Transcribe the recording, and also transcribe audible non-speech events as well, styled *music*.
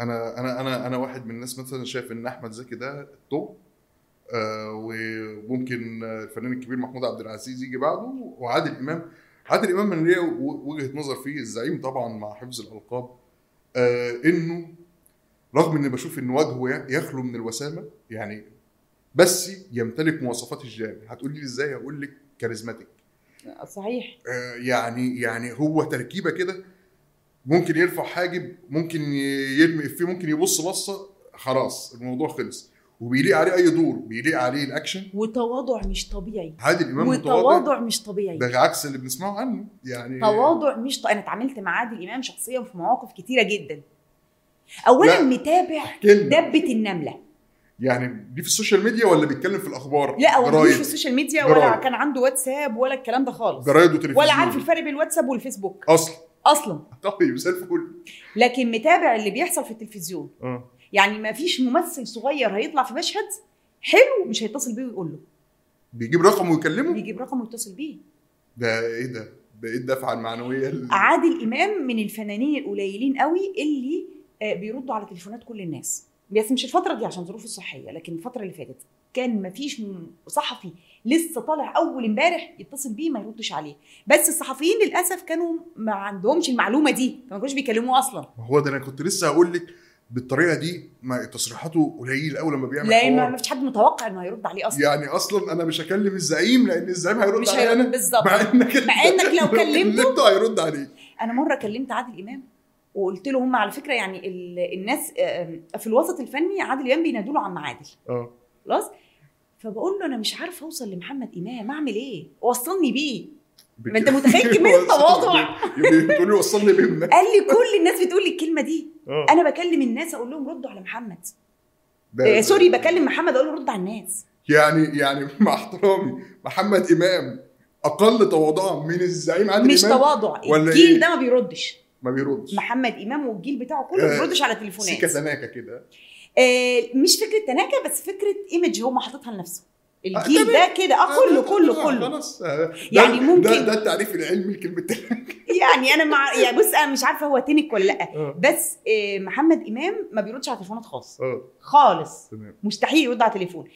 انا انا انا انا واحد من الناس مثلا شايف ان احمد زكي ده التوب آه، وممكن آه، الفنان الكبير محمود عبد العزيز يجي بعده وعادل امام عادل امام انا ليا و- وجهه نظر فيه الزعيم طبعا مع حفظ الالقاب آه، انه رغم اني بشوف ان وجهه ي- يخلو من الوسامه يعني بس يمتلك مواصفات الجاني هتقولي لي ازاي هقول لك كاريزماتيك صحيح آه، يعني يعني هو تركيبه كده ممكن يرفع حاجب ممكن ي- يرمي فيه ممكن يبص بصه خلاص الموضوع خلص وبيليق عليه اي دور بيليق عليه الاكشن وتواضع مش طبيعي عادل امام متواضع وتواضع مش طبيعي ده عكس اللي بنسمعه عنه يعني تواضع مش ط... انا اتعاملت مع عادل امام شخصيا في مواقف كتيره جدا اولا لا. متابع كلمه دبه النمله يعني دي في السوشيال ميديا ولا بيتكلم في الاخبار لا هو مش في جرايد السوشيال ميديا ولا جرايد. كان عنده واتساب ولا الكلام ده خالص جرايد وتلفزيون ولا عارف الفرق بين الواتساب والفيسبوك اصلا اصلا *laughs* طيب زي الفل لكن متابع اللي بيحصل في التلفزيون اه يعني ما فيش ممثل صغير هيطلع في مشهد حلو مش هيتصل بيه ويقول له بيجيب رقم ويكلمه بيجيب رقمه ويتصل بيه ده ايه ده ده ايه الدفعه المعنويه اللي- عادل امام من الفنانين القليلين قوي اللي آه، بيردوا على تليفونات كل الناس بس مش الفتره دي عشان ظروفه الصحيه لكن الفتره اللي فاتت كان مفيش م- صحفي لسه طالع اول امبارح يتصل بيه ما يردش عليه بس الصحفيين للاسف كانوا ما عندهمش المعلومه دي فما كانوش بيكلموه اصلا ما هو ده انا كنت لسه هقول لك بالطريقه دي ما تصريحاته قليل قوي لما بيعمل لا ما حوار ما فيش حد متوقع انه هيرد عليه اصلا يعني اصلا انا مش هكلم الزعيم لان الزعيم هيرد مش عليا هيرد انا بالظبط مع انك مع *laughs* إنك لو كلمته- هيرد عليك انا مره كلمت عادل امام وقلت له هم على فكره يعني ال- الناس آه، آه، في الوسط الفني عادل امام بينادوا له عم عادل اه خلاص فبقول له انا مش عارفه اوصل لمحمد امام اعمل ايه وصلني بيه بك- ما أنت *laughs* متخيل كمية التواضع. بتقول لي وصل لي بهمنا قال لي كل الناس بتقول لي الكلمه دي آه. انا بكلم الناس اقول لهم ردوا على محمد ده- آه سوري بكلم محمد اقول له رد على الناس يعني يعني مع احترامي محمد امام اقل تواضعا من الزعيم عادل مش امام تواضع ولا الجيل إيه؟ ده ما بيردش ما بيردش محمد امام والجيل بتاعه كله ما آه، بيردش على سيكا تليفونات سناكه كده آه مش فكره تناكه بس فكره ايمج هو حاططها لنفسه الجيل آه، تمام. ده كده اه آه، كله ده- كله آه، كله خلاص آه، ده- يعني ممكن- ده, ده التعريف العلمي لكلمه يعني انا مع يعني بص انا مش عارفه هو تنك ولا آه، لا اه بس آه محمد امام ما بيردش على تليفونات خالص اه خالص تمام مستحيل يرد على تليفون